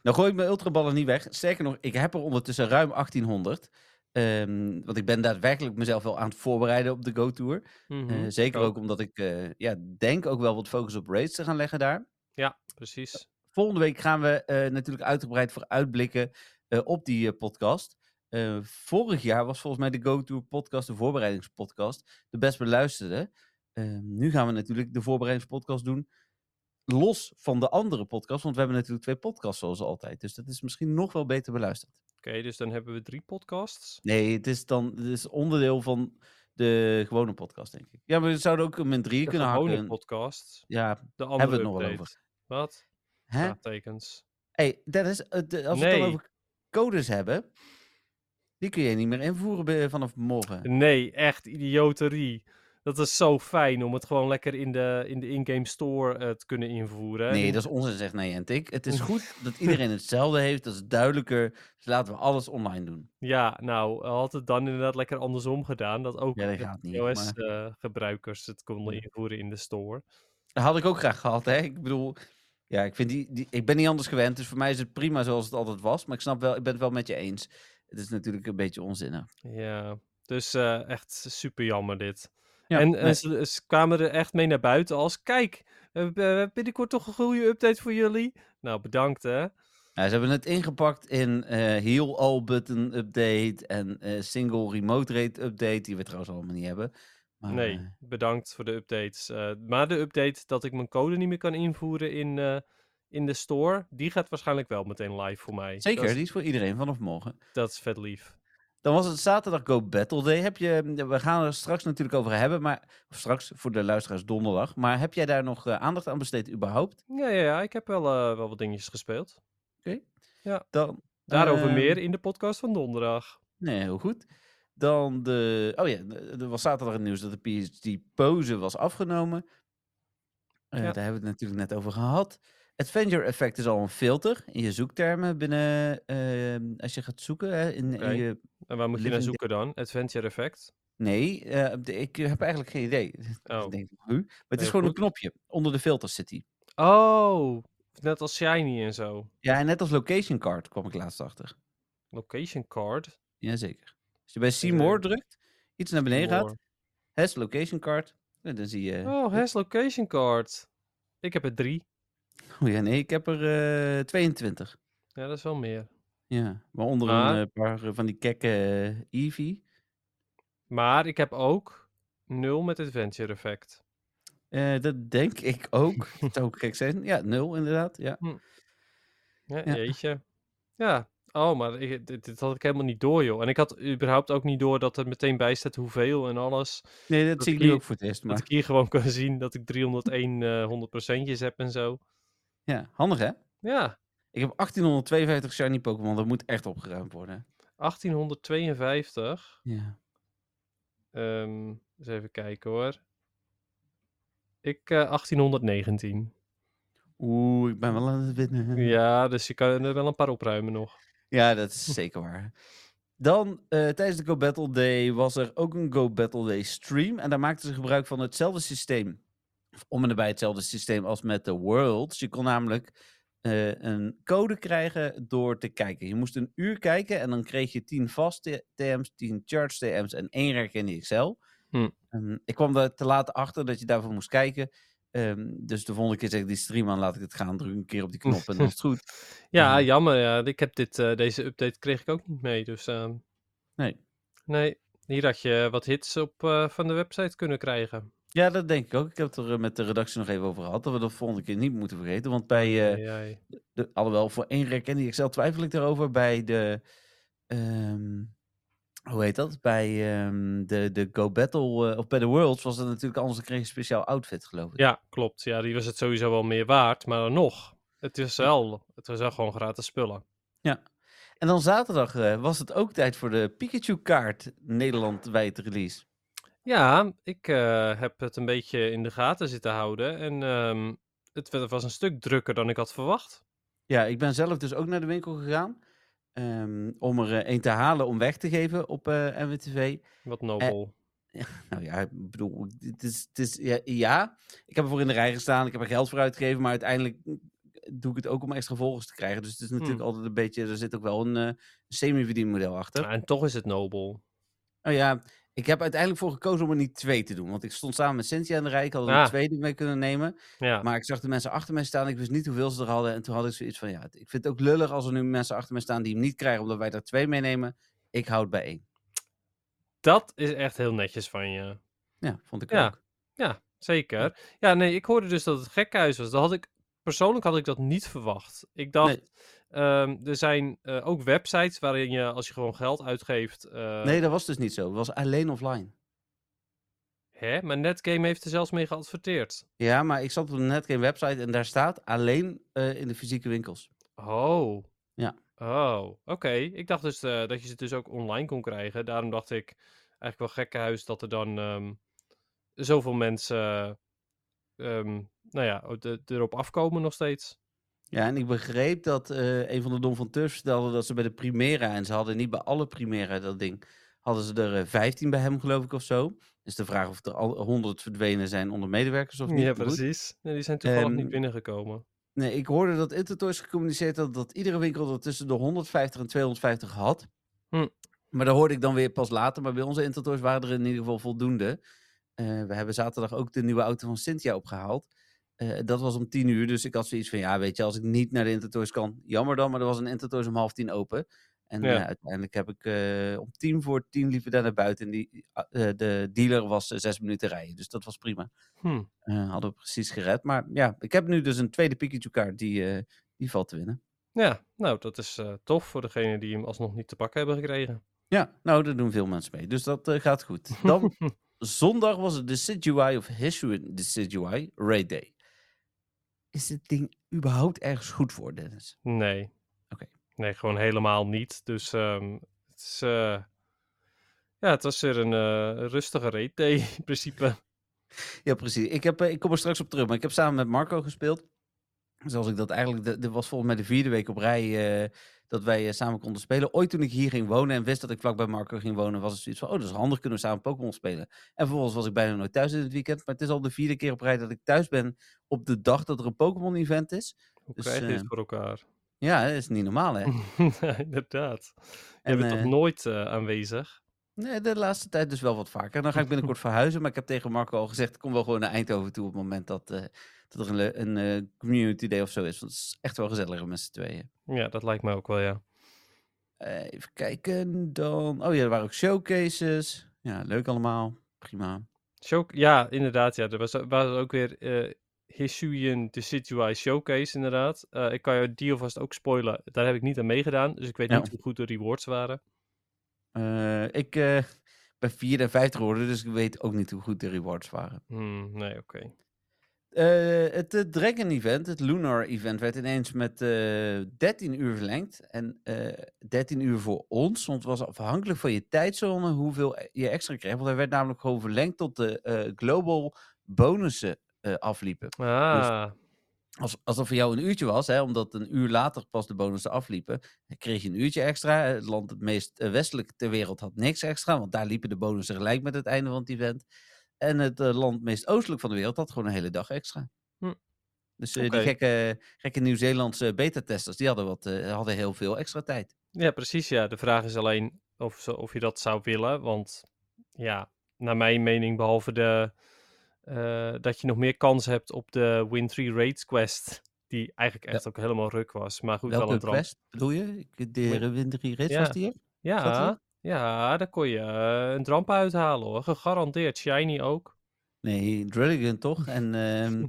[SPEAKER 3] Nou gooi ik mijn ultraballen niet weg. Sterker nog, ik heb er ondertussen ruim 1800. Ehm, want ik ben daadwerkelijk mezelf wel aan het voorbereiden op de Go Tour. Eh,
[SPEAKER 4] Mhm,
[SPEAKER 3] zeker ook omdat ik eh, ja, denk ook wel wat focus op raids te gaan leggen daar.
[SPEAKER 4] Ja, precies.
[SPEAKER 3] Volgende week gaan we eh, natuurlijk uitgebreid vooruitblikken eh, op die eh, podcast. Eh, vorig jaar was volgens mij de Go-Tour podcast, de voorbereidingspodcast, de best beluisterde. Eh, nu gaan we natuurlijk de voorbereidingspodcast doen los van de andere podcast, want we hebben natuurlijk twee podcasts zoals altijd. Dus dat is misschien nog wel beter beluisterd.
[SPEAKER 4] Oké, dus dan hebben we drie podcasts.
[SPEAKER 3] Nee, het is dan het is onderdeel van de gewone podcast, denk ik. Ja, maar we zouden ook hem in drieën
[SPEAKER 4] De
[SPEAKER 3] kunnen
[SPEAKER 4] gewone
[SPEAKER 3] hakken.
[SPEAKER 4] podcast.
[SPEAKER 3] Ja,
[SPEAKER 4] De andere
[SPEAKER 3] hebben we het nog wel
[SPEAKER 4] update.
[SPEAKER 3] over.
[SPEAKER 4] Wat?
[SPEAKER 3] Hè?
[SPEAKER 4] Vraagtekens.
[SPEAKER 3] Hey, Dennis, eh, de- als we het dan
[SPEAKER 4] Nee.
[SPEAKER 3] over codes hebben, die kun je niet meer invoeren bij- vanaf morgen.
[SPEAKER 4] Nee, echt idioterie. Dat is zo fijn om het gewoon lekker in de in de in-game store eh, te kunnen invoeren.
[SPEAKER 3] Nee,
[SPEAKER 4] Niet-
[SPEAKER 3] dat is onzin, zegt Niantic. Het is goed dat iedereen hetzelfde heeft, dat is duidelijker. Dus laten we alles online doen.
[SPEAKER 4] Ja, nou, had het dan inderdaad lekker andersom gedaan. Dat ook
[SPEAKER 3] Ja, dat
[SPEAKER 4] de
[SPEAKER 3] gaat niet, maar-
[SPEAKER 4] iOS-gebruikers het konden
[SPEAKER 3] Ja.
[SPEAKER 4] invoeren in de store.
[SPEAKER 3] Dat had ik ook graag gehad, hè. Ik bedoel, ja, ik, vind die, die, ik ben niet anders gewend, dus voor mij is het prima zoals het altijd was. Maar ik snap wel, ik ben het wel met je eens. Het is natuurlijk een beetje onzinnig.
[SPEAKER 4] Ja, dus eh, echt super jammer dit.
[SPEAKER 3] Ja,
[SPEAKER 4] en
[SPEAKER 3] nee.
[SPEAKER 4] en ze, eh, ze kwamen er echt mee naar buiten als, kijk, we hebben- eh, we hebben binnenkort toch een goede update voor jullie. Nou, bedankt hè.
[SPEAKER 3] Ja, Nou, ze hebben het ingepakt in eh heel all button update en eh, single remote rate update, die we trouwens allemaal niet hebben. Maar,
[SPEAKER 4] nee,
[SPEAKER 3] eh,
[SPEAKER 4] bedankt voor de updates. Eh, maar de update dat ik mijn code niet meer kan invoeren in, eh, in de store, die gaat waarschijnlijk wel meteen live voor mij.
[SPEAKER 3] Zeker,
[SPEAKER 4] Dat is,
[SPEAKER 3] die is voor iedereen vanaf morgen.
[SPEAKER 4] dat is vet lief.
[SPEAKER 3] Dan was het zaterdag Go Battle Day. Heb je, eh, we gaan er straks natuurlijk over hebben, maar of straks voor de luisteraars donderdag. Maar heb jij daar nog eh, aandacht aan besteed überhaupt?
[SPEAKER 4] Ja, ja, ja ik heb wel, eh, wel wat dingetjes gespeeld.
[SPEAKER 3] Dan,
[SPEAKER 4] Daarover
[SPEAKER 3] ehm,
[SPEAKER 4] meer in de podcast van donderdag.
[SPEAKER 3] Nee, heel goed. Dan de. Oh ja, de- er was zaterdag het nieuws dat de PhD-pose was afgenomen. Eh,
[SPEAKER 4] Ja.
[SPEAKER 3] Daar hebben we het natuurlijk net over gehad. Adventure Effect is al een filter in je zoektermen binnen. ehm, als je gaat zoeken. Hè, in, in
[SPEAKER 4] Oké.
[SPEAKER 3] je,
[SPEAKER 4] En waar moet je naar
[SPEAKER 3] Living
[SPEAKER 4] zoeken dan? Adventure Effect?
[SPEAKER 3] nee, eh, de- ik heb eigenlijk geen idee. <laughs>
[SPEAKER 4] Oh.
[SPEAKER 3] Ik denk, huh? Maar het is
[SPEAKER 4] Heel
[SPEAKER 3] gewoon
[SPEAKER 4] goed.
[SPEAKER 3] een knopje. Onder de filters zit die.
[SPEAKER 4] Oh, net als Shiny en zo.
[SPEAKER 3] Ja, en net als location card kwam ik laatst achter.
[SPEAKER 4] Location card.
[SPEAKER 3] Jazeker. Als je bij Seymour drukt, iets naar beneden gaat.
[SPEAKER 4] More.
[SPEAKER 3] Has location card. En dan zie je.
[SPEAKER 4] Oh, has location card. Ik heb er drie.
[SPEAKER 3] Oh ja, nee, ik heb er eh, 22.
[SPEAKER 4] Ja, dat is wel meer.
[SPEAKER 3] Ja, maar onder
[SPEAKER 4] Maar-
[SPEAKER 3] een eh, paar eh, van die kekke eh, Eevee.
[SPEAKER 4] Maar ik heb ook nul met Adventure Effect.
[SPEAKER 3] Eh, dat denk ik ook. Dat zou ook gek zijn. Ja, nul inderdaad. Ja.
[SPEAKER 4] Ja,
[SPEAKER 3] Ja.
[SPEAKER 4] Jeetje. Ja. Oh, maar ik, dit, dit had ik helemaal niet door, joh. En ik had überhaupt ook niet door dat er meteen bij staat hoeveel en alles.
[SPEAKER 3] Nee, dat,
[SPEAKER 4] Dat
[SPEAKER 3] zie ik
[SPEAKER 4] die-
[SPEAKER 3] nu ook voor het eerst.
[SPEAKER 4] Dat
[SPEAKER 3] Maar
[SPEAKER 4] ik hier gewoon <laughs> kan zien dat ik 301 eh 100 procentjes heb en zo.
[SPEAKER 3] ja, handig hè?
[SPEAKER 4] Ja,
[SPEAKER 3] Ik heb 1852 shiny Pokémon. Dat moet echt opgeruimd worden.
[SPEAKER 4] 1852.
[SPEAKER 3] Ja.
[SPEAKER 4] Ehm, eens even kijken hoor. Ik eh 1819.
[SPEAKER 3] Oeh, ik ben wel aan het winnen.
[SPEAKER 4] Ja, dus je kan er wel een paar opruimen nog.
[SPEAKER 3] Ja, dat is zeker waar. Dan, eh, tijdens de Go Battle Day was er ook een Go Battle Day stream. En daar maakten ze gebruik van hetzelfde systeem. Of om en nabij hetzelfde systeem als met de Worlds. Je kon namelijk eh, een code krijgen door te kijken. Je moest een uur kijken en dan kreeg je 10 vast T- TM's, 10 charge TM's en één rek in de Excel.
[SPEAKER 4] Hm.
[SPEAKER 3] Ehm, ik kwam daar te laat achter dat je daarvoor moest kijken. Ehm, dus de volgende keer zeg ik die stream aan, laat ik het gaan. Druk een keer op die knop en dan is het goed.
[SPEAKER 4] Ja,
[SPEAKER 3] Ja.
[SPEAKER 4] jammer. Ja. Ik heb dit, eh, deze update kreeg ik ook niet mee. Dus ehm,
[SPEAKER 3] Nee.
[SPEAKER 4] nee, hier had je wat hits op eh, van de website kunnen krijgen.
[SPEAKER 3] Ja, dat denk ik ook. Ik heb het er eh, met de redactie nog even over gehad. Dat we dat volgende keer niet moeten vergeten. Want bij, eh,
[SPEAKER 4] Ai, ai.
[SPEAKER 3] de, alhoewel voor één rek en die Excel twijfel ik daarover. Bij de, ehm, hoe heet dat? Bij ehm, de, de Go Battle, eh, of bij de Worlds was dat natuurlijk anders. Dan kreeg je een speciaal outfit, geloof ik.
[SPEAKER 4] Ja, klopt. Ja, die was het sowieso wel meer waard. Maar dan nog, het is wel, het was wel gewoon gratis spullen.
[SPEAKER 3] En dan zaterdag eh, was het ook tijd voor de Pikachu-kaart Nederlandwijd release.
[SPEAKER 4] Ja, ik eh, heb het een beetje in de gaten zitten houden. En ehm, het wa- was een stuk drukker dan ik had verwacht.
[SPEAKER 3] Ja, ik ben zelf dus ook naar de winkel gegaan. ehm, om er eh, één te halen om weg te geven op eh MWTV.
[SPEAKER 4] Wat nobel.
[SPEAKER 3] Nou ja, ik bedoel, het is, het is, ja, ja, ik heb ervoor in de rij gestaan, ik heb er geld voor uitgegeven, maar uiteindelijk mm, doe ik het ook om extra volgers te krijgen. Dus het is natuurlijk
[SPEAKER 4] Hmm.
[SPEAKER 3] altijd een beetje, er zit ook wel een eh, semi-verdienmodel achter.
[SPEAKER 4] en toch is het nobel.
[SPEAKER 3] Nou ja, ik heb uiteindelijk voor gekozen om er niet twee te doen, want ik stond samen met Cynthia aan de rij, ik had er
[SPEAKER 4] Ah.
[SPEAKER 3] een tweede mee kunnen nemen,
[SPEAKER 4] Ja,
[SPEAKER 3] maar ik zag de mensen achter mij staan, ik wist niet hoeveel ze er hadden en toen had ik zoiets van, ja, ik vind het ook lullig als er nu mensen achter mij staan die hem niet krijgen omdat wij er twee meenemen. Ik houd bij één.
[SPEAKER 4] dat is echt heel netjes van je.
[SPEAKER 3] Ja, vond ik
[SPEAKER 4] Ja.
[SPEAKER 3] ook.
[SPEAKER 4] Ja, zeker. Ja, nee, ik hoorde dus dat het gekhuis was. Dat had ik, persoonlijk had ik dat niet verwacht. Ik dacht, ehm, er zijn eh, ook websites waarin je, als je gewoon geld uitgeeft... eh,
[SPEAKER 3] Nee, dat was dus niet zo. Het was alleen offline.
[SPEAKER 4] Hè? Maar Netgame heeft er zelfs mee geadverteerd.
[SPEAKER 3] Ja, maar ik zat op de Netgame website en daar staat alleen eh, in de fysieke winkels.
[SPEAKER 4] Oh.
[SPEAKER 3] Ja.
[SPEAKER 4] Oh, oké. Ik dacht dus eh, dat je ze dus ook online kon krijgen. Daarom dacht ik eigenlijk wel gekkenhuis dat er dan ehm, zoveel mensen ehm, nou ja, o- de- erop afkomen nog steeds.
[SPEAKER 3] Ja, en ik begreep dat eh, een van de Don van Turf vertelde dat ze bij de Primera, en ze hadden niet bij alle Primera dat ding, hadden ze er eh, 15 bij hem geloof ik of zo. Dus de vraag of er al 100 verdwenen zijn onder medewerkers of niet.
[SPEAKER 4] ja,
[SPEAKER 3] maar goed.
[SPEAKER 4] precies. Nee, die zijn toevallig
[SPEAKER 3] Ehm,
[SPEAKER 4] niet binnengekomen.
[SPEAKER 3] Nee, ik hoorde dat Intertoys gecommuniceerd had dat iedere winkel er tussen de 150 en 250 had.
[SPEAKER 4] Hm.
[SPEAKER 3] Maar dat hoorde ik dan weer pas later. Maar bij onze Intertoys waren er in ieder geval voldoende. Eh, we hebben zaterdag ook de nieuwe auto van Cynthia opgehaald. Eh, dat was om 10 uur, dus ik had zoiets van, ja, weet je, als ik niet naar de Intertoys kan, jammer dan, maar er was een Intertoys om half tien open. En
[SPEAKER 4] Ja.
[SPEAKER 3] eh, uiteindelijk heb ik eh, om tien voor tien liepen daar naar buiten. En die, eh, de dealer was eh, zes minuten rijden, dus dat was prima.
[SPEAKER 4] Hm.
[SPEAKER 3] Eh, hadden we precies gered. Maar ja, ik heb nu dus een tweede Pikachu-kaart die, eh, die valt te winnen.
[SPEAKER 4] Ja, nou, dat is eh, tof voor degenen die hem alsnog niet te pakken hebben gekregen.
[SPEAKER 3] Ja, nou, daar doen veel mensen mee. Dus dat eh, gaat goed. Dan, zondag was het Decidueye of Hisuian Decidueye Raid Day. Is dit ding überhaupt ergens goed voor, Dennis?
[SPEAKER 4] Nee.
[SPEAKER 3] Oké.
[SPEAKER 4] Nee, gewoon helemaal niet. Dus ehm, het is... eh, Ja, het was weer een eh, rustige raid day <laughs> in principe.
[SPEAKER 3] Ja, precies. Ik, heb, eh, ik kom er straks op terug, maar ik heb samen met Marco gespeeld. Zoals ik dat eigenlijk, de- dit was volgens mij de vierde week op rij eh, dat wij eh, samen konden spelen. Ooit toen ik hier ging wonen en wist dat ik vlakbij Marco ging wonen, was het zoiets van, oh dat is handig, kunnen we samen Pokémon spelen. En vervolgens was ik bijna nooit thuis in het weekend, maar het is al de vierde keer op rij dat ik thuis ben op de dag dat er een Pokémon event is.
[SPEAKER 4] Hoe
[SPEAKER 3] Dus,
[SPEAKER 4] krijg je dit
[SPEAKER 3] eh,
[SPEAKER 4] voor elkaar?
[SPEAKER 3] Ja, dat is niet normaal hè.
[SPEAKER 4] <laughs> Ja, Inderdaad. Je
[SPEAKER 3] En,
[SPEAKER 4] bent
[SPEAKER 3] eh,
[SPEAKER 4] toch nooit eh, aanwezig?
[SPEAKER 3] Nee, de laatste tijd dus wel wat vaker. En dan ga ik binnenkort verhuizen. Maar ik heb tegen Marco al gezegd, kom wel gewoon naar Eindhoven toe op het moment dat, eh, dat er een, le- een eh, community day of zo is. Want het is echt wel gezelliger met z'n tweeën.
[SPEAKER 4] Ja, dat lijkt mij ook wel, ja.
[SPEAKER 3] Eh, even kijken dan. Oh ja, er waren ook showcases. Ja, leuk allemaal. Prima.
[SPEAKER 4] Show, ja, inderdaad. Ja, er was, was ook weer eh Hisuian Decidueye Showcase, inderdaad. Eh, ik kan je die alvast ook spoilen. Daar heb ik niet aan meegedaan, dus ik weet
[SPEAKER 3] Ja.
[SPEAKER 4] niet hoe goed de rewards waren.
[SPEAKER 3] Eh, ik eh ben vierde en vijfde geworden, dus ik weet ook niet hoe goed de rewards waren.
[SPEAKER 4] Hmm, nee, oké.
[SPEAKER 3] Dus Eh, het eh, Dragon Event, het Lunar Event, werd ineens met eh 13 uur verlengd. En eh 13 uur voor ons, want het was afhankelijk van je tijdzone hoeveel e- je extra kreeg. Want hij werd namelijk gewoon verlengd tot de eh, global bonussen eh, afliepen.
[SPEAKER 4] Ah,
[SPEAKER 3] Als, alsof het jou een uurtje was, hè, omdat een uur later pas de bonussen afliepen, dan kreeg je een uurtje extra. Het land het meest eh, westelijk ter wereld had niks extra, want daar liepen de bonussen gelijk met het einde van het event. En het eh, land het meest oostelijk van de wereld had gewoon een hele dag extra.
[SPEAKER 4] Hm.
[SPEAKER 3] Dus eh,
[SPEAKER 4] Oké.
[SPEAKER 3] die gekke, gekke Nieuw-Zeelandse beta-testers, die hadden, wat, eh, hadden heel veel extra tijd.
[SPEAKER 4] ja, precies. Ja, de vraag is alleen of, ze, of je dat zou willen. Want ja, naar mijn mening, behalve de, eh, dat je nog meer kans hebt op de Win 3 Raids Quest, die eigenlijk
[SPEAKER 3] Ja.
[SPEAKER 4] echt ook helemaal ruk was. Maar goed, wel
[SPEAKER 3] Welke
[SPEAKER 4] een ramp.
[SPEAKER 3] quest bedoel je? Ik- De
[SPEAKER 4] Moet-
[SPEAKER 3] Rewindery Rits
[SPEAKER 4] Ja.
[SPEAKER 3] was die? hè? dat zo?
[SPEAKER 4] Ja, ja, daar kon je eh, een dramp uithalen hoor. Gegarandeerd. Shiny ook.
[SPEAKER 3] Nee, Drilligan toch? En
[SPEAKER 4] <laughs>
[SPEAKER 3] ehm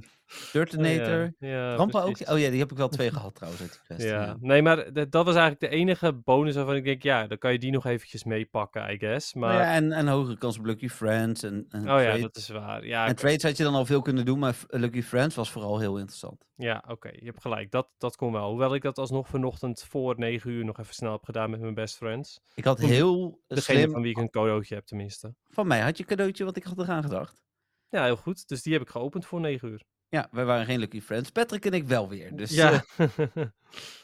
[SPEAKER 3] Turtonator.
[SPEAKER 4] Oh ja, ja,
[SPEAKER 3] Rampa ook?
[SPEAKER 4] precies.
[SPEAKER 3] Oh ja, die heb ik wel
[SPEAKER 4] <laughs>
[SPEAKER 3] twee gehad trouwens uit die quest.
[SPEAKER 4] Ja, nee, maar dat, dat was eigenlijk de enige bonus waarvan ik denk, ja, dan kan je die nog eventjes meepakken, I guess. Maar,
[SPEAKER 3] Nou ja, en, en hogere kans op Lucky Friends. En, en
[SPEAKER 4] oh ja,
[SPEAKER 3] trades.
[SPEAKER 4] dat is waar. Ja,
[SPEAKER 3] En
[SPEAKER 4] ik-
[SPEAKER 3] trades had je dan al veel kunnen doen, maar F- eh, Lucky Friends was vooral heel interessant.
[SPEAKER 4] ja oké, je hebt gelijk. Dat, dat kon wel. Hoewel ik dat alsnog vanochtend voor negen uur nog even snel heb gedaan met mijn best friends.
[SPEAKER 3] Ik had
[SPEAKER 4] Om de-
[SPEAKER 3] heel eh,
[SPEAKER 4] Degene
[SPEAKER 3] slim...
[SPEAKER 4] van
[SPEAKER 3] Van,
[SPEAKER 4] wie ik een cadeautje heb tenminste.
[SPEAKER 3] mij had je een cadeautje, want ik had eraan gedacht.
[SPEAKER 4] Ja, heel goed. Dus die heb ik geopend voor negen uur.
[SPEAKER 3] Ja, wij waren geen Lucky Friends. Patrick en ik wel weer. Dus eh,
[SPEAKER 4] ja,
[SPEAKER 3] dat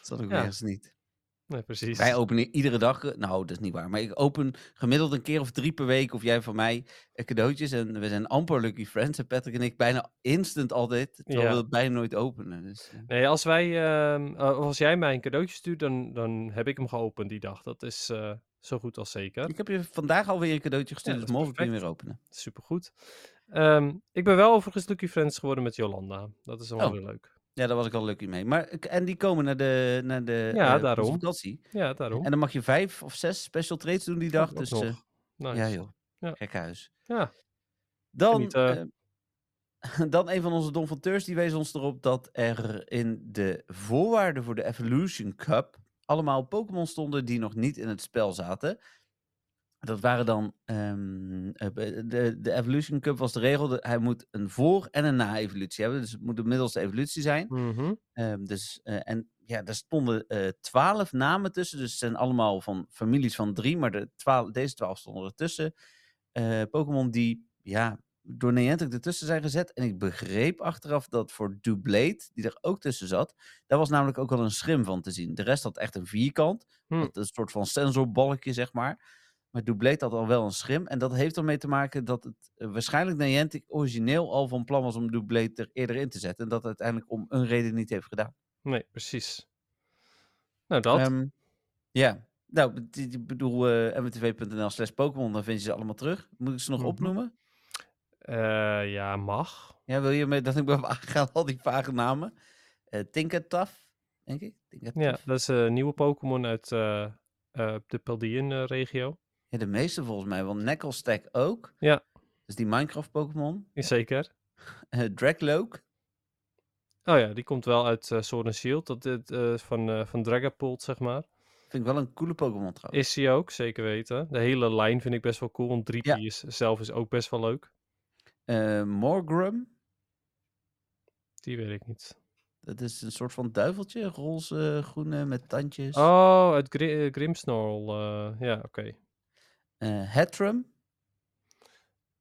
[SPEAKER 3] zat ook
[SPEAKER 4] Ja.
[SPEAKER 3] weer eens niet.
[SPEAKER 4] <laughs> nee, precies.
[SPEAKER 3] Wij openen iedere dag... eh, Nou, dat is niet waar. Maar ik open gemiddeld een keer of drie per week, of jij van mij, eh, cadeautjes. En we zijn amper Lucky Friends. En Patrick en ik bijna instant altijd. Terwijl
[SPEAKER 4] Ja.
[SPEAKER 3] we dat bijna nooit openen. Dus, eh.
[SPEAKER 4] Nee, als, wij, ehm, eh, of als jij mij een cadeautje stuurt, dan, dan heb ik hem geopend die dag. Dat is eh, zo goed als zeker.
[SPEAKER 3] Ik heb je vandaag alweer een cadeautje gestuurd,
[SPEAKER 4] dat
[SPEAKER 3] dus
[SPEAKER 4] is
[SPEAKER 3] morgen kun je hem
[SPEAKER 4] perfect.
[SPEAKER 3] weer openen.
[SPEAKER 4] Supergoed. Ehm, ik ben wel overigens Lucky Friends geworden met Jolanda. Dat is allemaal
[SPEAKER 3] Oh.
[SPEAKER 4] weer leuk.
[SPEAKER 3] Ja, daar was ik al lucky mee. Maar, ik- en die komen naar de, naar de eh,
[SPEAKER 4] Ja,
[SPEAKER 3] onze
[SPEAKER 4] daarom.
[SPEAKER 3] vakantie.
[SPEAKER 4] Ja, daarom.
[SPEAKER 3] En dan mag je vijf of zes special trades doen die dag.
[SPEAKER 4] ook
[SPEAKER 3] dus
[SPEAKER 4] nog.
[SPEAKER 3] eh,
[SPEAKER 4] Nice.
[SPEAKER 3] ja joh,
[SPEAKER 4] Ja.
[SPEAKER 3] gek huis.
[SPEAKER 4] Ja.
[SPEAKER 3] Dan,
[SPEAKER 4] Genieten.
[SPEAKER 3] eh, <laughs> dan een van onze Don van Teurs, die wees ons erop dat er in de voorwaarden voor de Evolution Cup allemaal Pokémon stonden die nog niet in het spel zaten. Dat waren dan, ehm, eh, be- de, de Evolution Cup was de regel, dat hij moet een voor- en een na-evolutie hebben. Dus het moet de middelste evolutie zijn.
[SPEAKER 4] Mhm.
[SPEAKER 3] Ehm, dus, eh, en ja, daar stonden eh, twaalf namen tussen. Dus het zijn allemaal van families van drie, maar de 12 deze twaalf stonden ertussen. Eh Pokémon die ja, door Niantic ertussen zijn gezet. En ik begreep achteraf dat voor Dublade, die er ook tussen zat, daar was namelijk ook al een schim van te zien. De rest had echt een vierkant,
[SPEAKER 4] Hmm.
[SPEAKER 3] dat een soort van sensorbalkje, zeg maar. Maar Dublade had al wel een schim. En dat heeft ermee te maken dat het eh, waarschijnlijk Niantic origineel al van plan was om Dublade er eerder in te zetten. En dat uiteindelijk om een reden niet heeft gedaan.
[SPEAKER 4] Nee, precies. Nou, dat.
[SPEAKER 3] Ehm, ja. Nou, b- die- die- ik bedoel, eh mwtv.nl slash Pokémon, dan vind je ze allemaal terug. Moet ik ze nog
[SPEAKER 4] Mhm.
[SPEAKER 3] opnoemen?
[SPEAKER 4] Eh, ja, mag.
[SPEAKER 3] Ja, wil je me <laughs> dat ik ben aangegaan, al die vage namen? Eh Tinkertaf, denk ik. Tinkertaf.
[SPEAKER 4] Ja, dat is een nieuwe Pokémon uit eh, eh, de Paldean-regio.
[SPEAKER 3] Ja, de meeste volgens mij, want Neckelstack ook.
[SPEAKER 4] Ja.
[SPEAKER 3] Dus die Minecraft-Pokémon.
[SPEAKER 4] Zeker.
[SPEAKER 3] Eh Dragloak.
[SPEAKER 4] Oh ja, die komt wel uit eh Sword and Shield. Dat, dit, eh, van, eh van Dragapult, zeg maar.
[SPEAKER 3] Vind ik wel een coole Pokémon trouwens.
[SPEAKER 4] Is hij ook, zeker weten. De hele lijn vind ik best wel cool. Want 3P
[SPEAKER 3] Ja.
[SPEAKER 4] is, zelf is ook best wel leuk.
[SPEAKER 3] Eh, Morgrum,
[SPEAKER 4] Die weet ik niet.
[SPEAKER 3] dat is een soort van duiveltje, roze, groene, met tandjes.
[SPEAKER 4] Oh, uit Gri eh, Grimmsnarl. eh, ja, oké.
[SPEAKER 3] Eh, Hatrum.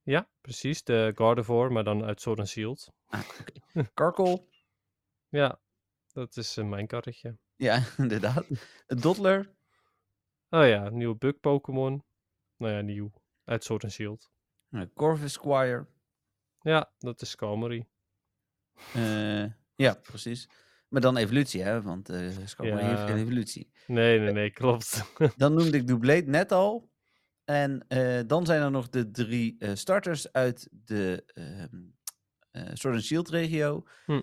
[SPEAKER 4] Ja, precies. De Gardevoir, maar dan uit Sword and Shield.
[SPEAKER 3] Karkel.
[SPEAKER 4] Ja, dat is eh, mijn karretje.
[SPEAKER 3] Ja, <laughs> inderdaad. Een Doddler.
[SPEAKER 4] Oh ja, nieuwe bug Pokémon. Nou ja, nieuw. Uit Sword and Shield.
[SPEAKER 3] een Corvus Squire.
[SPEAKER 4] Ja, dat is Skarmory.
[SPEAKER 3] Eh, ja, precies. Maar dan evolutie, hè? Want eh Skarmory heeft
[SPEAKER 4] Ja.
[SPEAKER 3] geen evolutie.
[SPEAKER 4] Nee,
[SPEAKER 3] Eh
[SPEAKER 4] nee, nee, klopt. <laughs>
[SPEAKER 3] Dan noemde ik Doublet net al. En eh, dan zijn er nog de drie eh, starters uit de ehm eh, Sword and Shield regio.
[SPEAKER 4] Hm.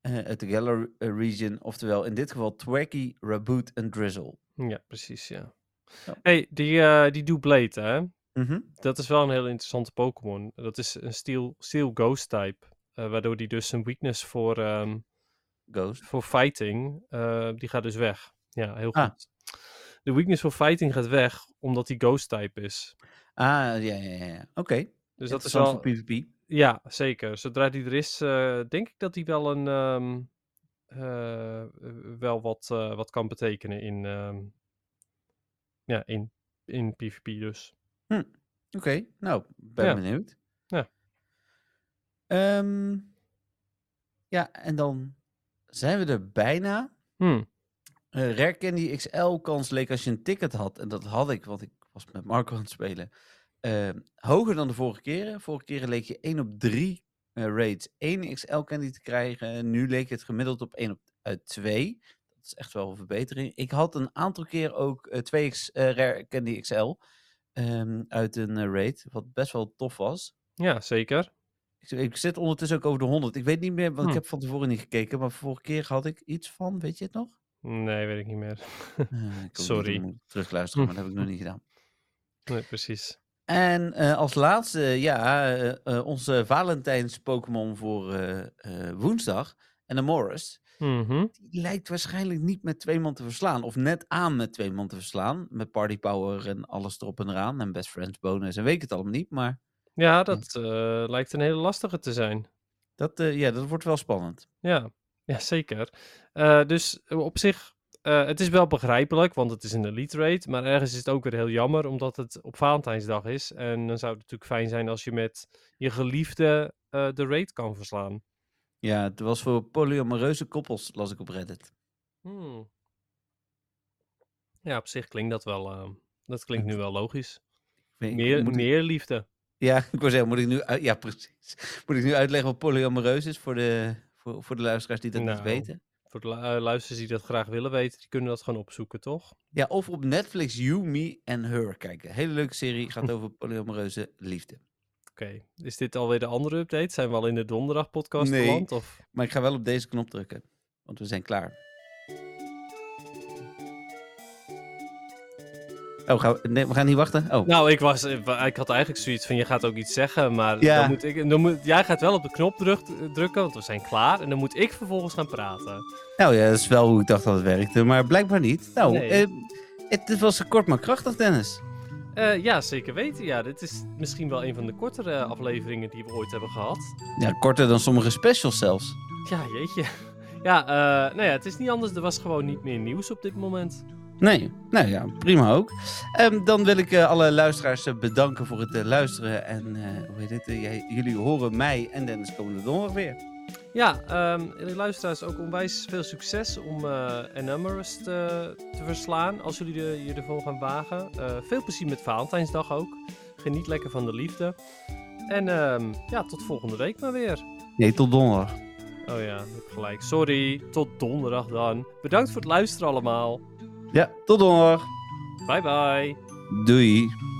[SPEAKER 3] Eh, uit de Galar eh, region. Oftewel in dit geval Twacky, Raboot en Drizzle.
[SPEAKER 4] ja, precies, ja.
[SPEAKER 3] Ja.
[SPEAKER 4] hey, die, eh die Doublade, hè?
[SPEAKER 3] Mhm.
[SPEAKER 4] Dat is wel een heel interessante Pokémon. Dat is een Steel, steel Ghost type. eh, waardoor die dus een weakness voor, ehm,
[SPEAKER 3] Ghost.
[SPEAKER 4] voor fighting, eh, die gaat dus weg. Ja, heel
[SPEAKER 3] Ah.
[SPEAKER 4] goed. De weakness voor fighting gaat weg, omdat die ghost type is.
[SPEAKER 3] Ah, ja, ja, ja. ja. Oké.
[SPEAKER 4] Dus dat is
[SPEAKER 3] Interessant
[SPEAKER 4] wel...
[SPEAKER 3] voor PvP.
[SPEAKER 4] Ja, zeker. Zodra die er is, eh, denk ik dat die wel een... ehm, eh, wel wat, eh, wat kan betekenen in... ehm, ja, in, in PvP dus.
[SPEAKER 3] Oké, nou, ben
[SPEAKER 4] Ja.
[SPEAKER 3] benieuwd.
[SPEAKER 4] Ja.
[SPEAKER 3] Ehm, ja, en dan zijn we er bijna.
[SPEAKER 4] Hm.
[SPEAKER 3] Eh Rare Candy XL kans leek als je een ticket had. En dat had ik, want ik was met Marco aan het spelen. Ehm, hoger dan de vorige keren. Vorige keren leek je 1 op 3 eh, raids 1 XL Candy te krijgen. Nu leek het gemiddeld op 1 op, uit 2. Dat is echt wel een verbetering. Ik had een aantal keer ook eh, 2x eh, Rare Candy XL ehm, uit een eh, raid. Wat best wel tof was.
[SPEAKER 4] Ja, zeker.
[SPEAKER 3] Ik, ik zit ondertussen ook over de 100. Ik weet niet meer, want ik
[SPEAKER 4] Hm.
[SPEAKER 3] heb van tevoren niet gekeken. Maar vorige keer had ik iets van, weet je het nog?
[SPEAKER 4] Nee, weet ik niet meer. <laughs>
[SPEAKER 3] Eh, ik hoop niet dat
[SPEAKER 4] Sorry. Hm.
[SPEAKER 3] ik moet Terugluisteren, maar dat heb ik nog niet gedaan.
[SPEAKER 4] nee, precies.
[SPEAKER 3] En eh, als laatste, ja, eh, eh, onze Valentijns-Pokémon voor eh, eh, woensdag, en Morris,
[SPEAKER 4] Mhm.
[SPEAKER 3] die lijkt waarschijnlijk niet met twee man te verslaan. Of net aan met twee man te verslaan. Met Party Power en alles erop en eraan. En Best Friends bonus en weet ik het allemaal niet. Maar
[SPEAKER 4] Ja, dat eh, lijkt een hele lastige te zijn.
[SPEAKER 3] dat, eh, ja, dat wordt wel spannend.
[SPEAKER 4] Ja, ja zeker. Eh, dus op zich, eh, het is wel begrijpelijk, want het is een elite raid. Maar ergens is het ook weer heel jammer, omdat het op Valentijnsdag is. En dan zou het natuurlijk fijn zijn als je met je geliefde eh, de raid kan verslaan.
[SPEAKER 3] Ja, het was voor polyamoreuze koppels, las ik op Reddit.
[SPEAKER 4] Hmm. Ja, op zich klinkt dat wel. eh, dat klinkt nu wel logisch.
[SPEAKER 3] Ik weet- ik
[SPEAKER 4] Meer,
[SPEAKER 3] moet ik-
[SPEAKER 4] meer liefde.
[SPEAKER 3] Ja, <laughs> ik wou zeggen, moet ik nu, uit- ja, precies. Moet ik nu uitleggen wat polyamoreus is voor de, voor, voor de luisteraars die dat niet
[SPEAKER 4] Nou.
[SPEAKER 3] weten?
[SPEAKER 4] Voor de lu- eh, luisteraars die dat graag willen weten, die kunnen dat gewoon opzoeken, toch?
[SPEAKER 3] Ja, of op Netflix You, Me and Her kijken. Hele leuke serie, gaat over <laughs> polyamoreuze liefde.
[SPEAKER 4] Oké, is dit alweer de andere update? Zijn we al in de donderdag podcast
[SPEAKER 3] Nee.
[SPEAKER 4] beland? Of...
[SPEAKER 3] Maar ik ga wel op deze knop drukken, want we zijn klaar. Oh, gaan we, nee, we gaan niet wachten? Oh,
[SPEAKER 4] Nou, ik, was, ik wa- ik had eigenlijk zoiets van, je gaat ook iets zeggen, maar
[SPEAKER 3] Ja.
[SPEAKER 4] dan moet ik, dan moet, jij gaat wel op de knop druk- drukken, want we zijn klaar. En dan moet ik vervolgens gaan praten.
[SPEAKER 3] nou ja, dat is wel hoe ik dacht dat het werkte, maar blijkbaar niet. Nou,
[SPEAKER 4] Nee.
[SPEAKER 3] eh, het, het was kort maar krachtig, Dennis.
[SPEAKER 4] Eh, ja, zeker weten. Ja, dit is misschien wel een van de kortere eh, afleveringen die we ooit hebben gehad.
[SPEAKER 3] Ja, korter dan sommige specials zelfs.
[SPEAKER 4] Ja, jeetje. <laughs> Ja, eh, nou ja, het is niet anders. Er was gewoon niet meer nieuws op dit moment.
[SPEAKER 3] Nee, nou ja, prima ook. Ehm, dan wil ik eh, alle luisteraars eh, bedanken voor het eh, luisteren. En eh, hoe heet het? eh, jij- jullie horen mij en Dennis komende donderdag weer.
[SPEAKER 4] Ja, ehm jullie luisteraars ook onwijs veel succes om eh Enamorous te, te verslaan als jullie de, je ervoor gaan wagen. Eh, veel plezier met Valentijnsdag ook. Geniet lekker van de liefde. En ehm, ja, tot volgende week maar weer.
[SPEAKER 3] Nee, tot donderdag.
[SPEAKER 4] Oh ja, heb ik gelijk. Sorry, tot donderdag dan. Bedankt voor het luisteren allemaal.
[SPEAKER 3] Ja, tot donderdag.
[SPEAKER 4] Bye bye.
[SPEAKER 3] Doei.